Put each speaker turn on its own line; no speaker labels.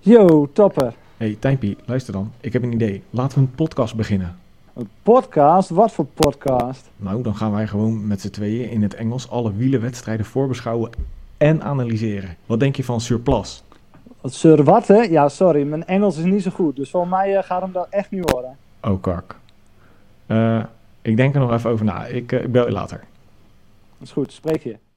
Yo, topper.
hey, Tijnpie, luister dan. Ik heb een idee. Laten we een podcast beginnen.
Een podcast? Wat voor podcast?
Nou, dan gaan wij gewoon met z'n tweeën in het Engels alle wielenwedstrijden voorbeschouwen en analyseren. Wat denk je van Surplus?
Sir wat, hè? Ja, sorry, mijn Engels is niet zo goed. Dus voor mij eh, gaat hem dat echt niet horen.
Oh, kak. Eh, ik denk er nog even over na. Ik eh, ik bel je later.
Dat is goed, spreek je.